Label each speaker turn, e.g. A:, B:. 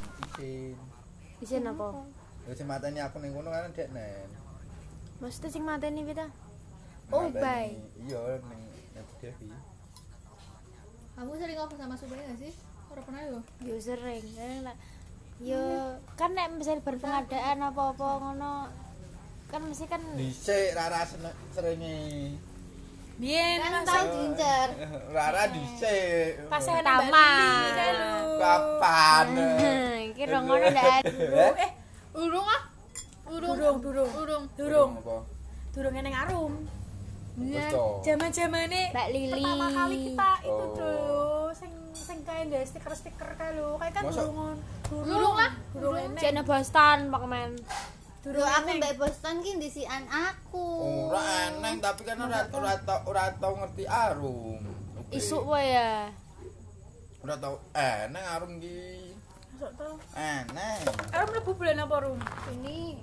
A: isin
B: Isin apa?
A: ya sing mateni aku ning kono kan dek nen
B: Maksudnya sing mateni pita? Oh,
A: Mateni-
B: baik.
A: iya ning ning Bu Devi
C: Kamu sering ngobrol sama Subay gak sih? ya, Ora pernah yo.
B: Yo sering. Eh, lah. Yo kan nek misalnya berpengadaan apa-apa ngono kan mesti kan
A: dhisik rara sene- serenge
D: Biyen
C: Kan
D: masa
C: tau diincer.
A: rara dhisik
D: pas saya nang
B: Pertama.
D: Bali kan lu.
A: kapan
B: iki ro ngono ndak
A: Eh?
D: Eh,
C: Urung ah. Urung.
D: durung, durung,
C: Urung.
D: durung,
A: apa
D: durung neng arum.
A: Wis
C: Iya.
A: to.
D: zaman zamane
B: Mbak Lili.
D: pertama kali kita itu
A: Oh.
D: dulu sing sing kayak ada stiker stiker kayak lo kayak kan
A: Masa?
D: durung
C: Durung
B: ah?
C: lah.
D: durung eneng
B: Jane Boston Pak Men.
D: durung
E: Dulu aku
D: eneng.
E: mbak Boston ki ndisikan aku.
A: ora eneng tapi kan ora ora tau ora tau ngerti arum Oke.
B: Isuk wae ya.
A: ora tau eneng arum ki
D: Masuk tuh
A: eneng
D: arum lebu bulan apa rum
C: Ini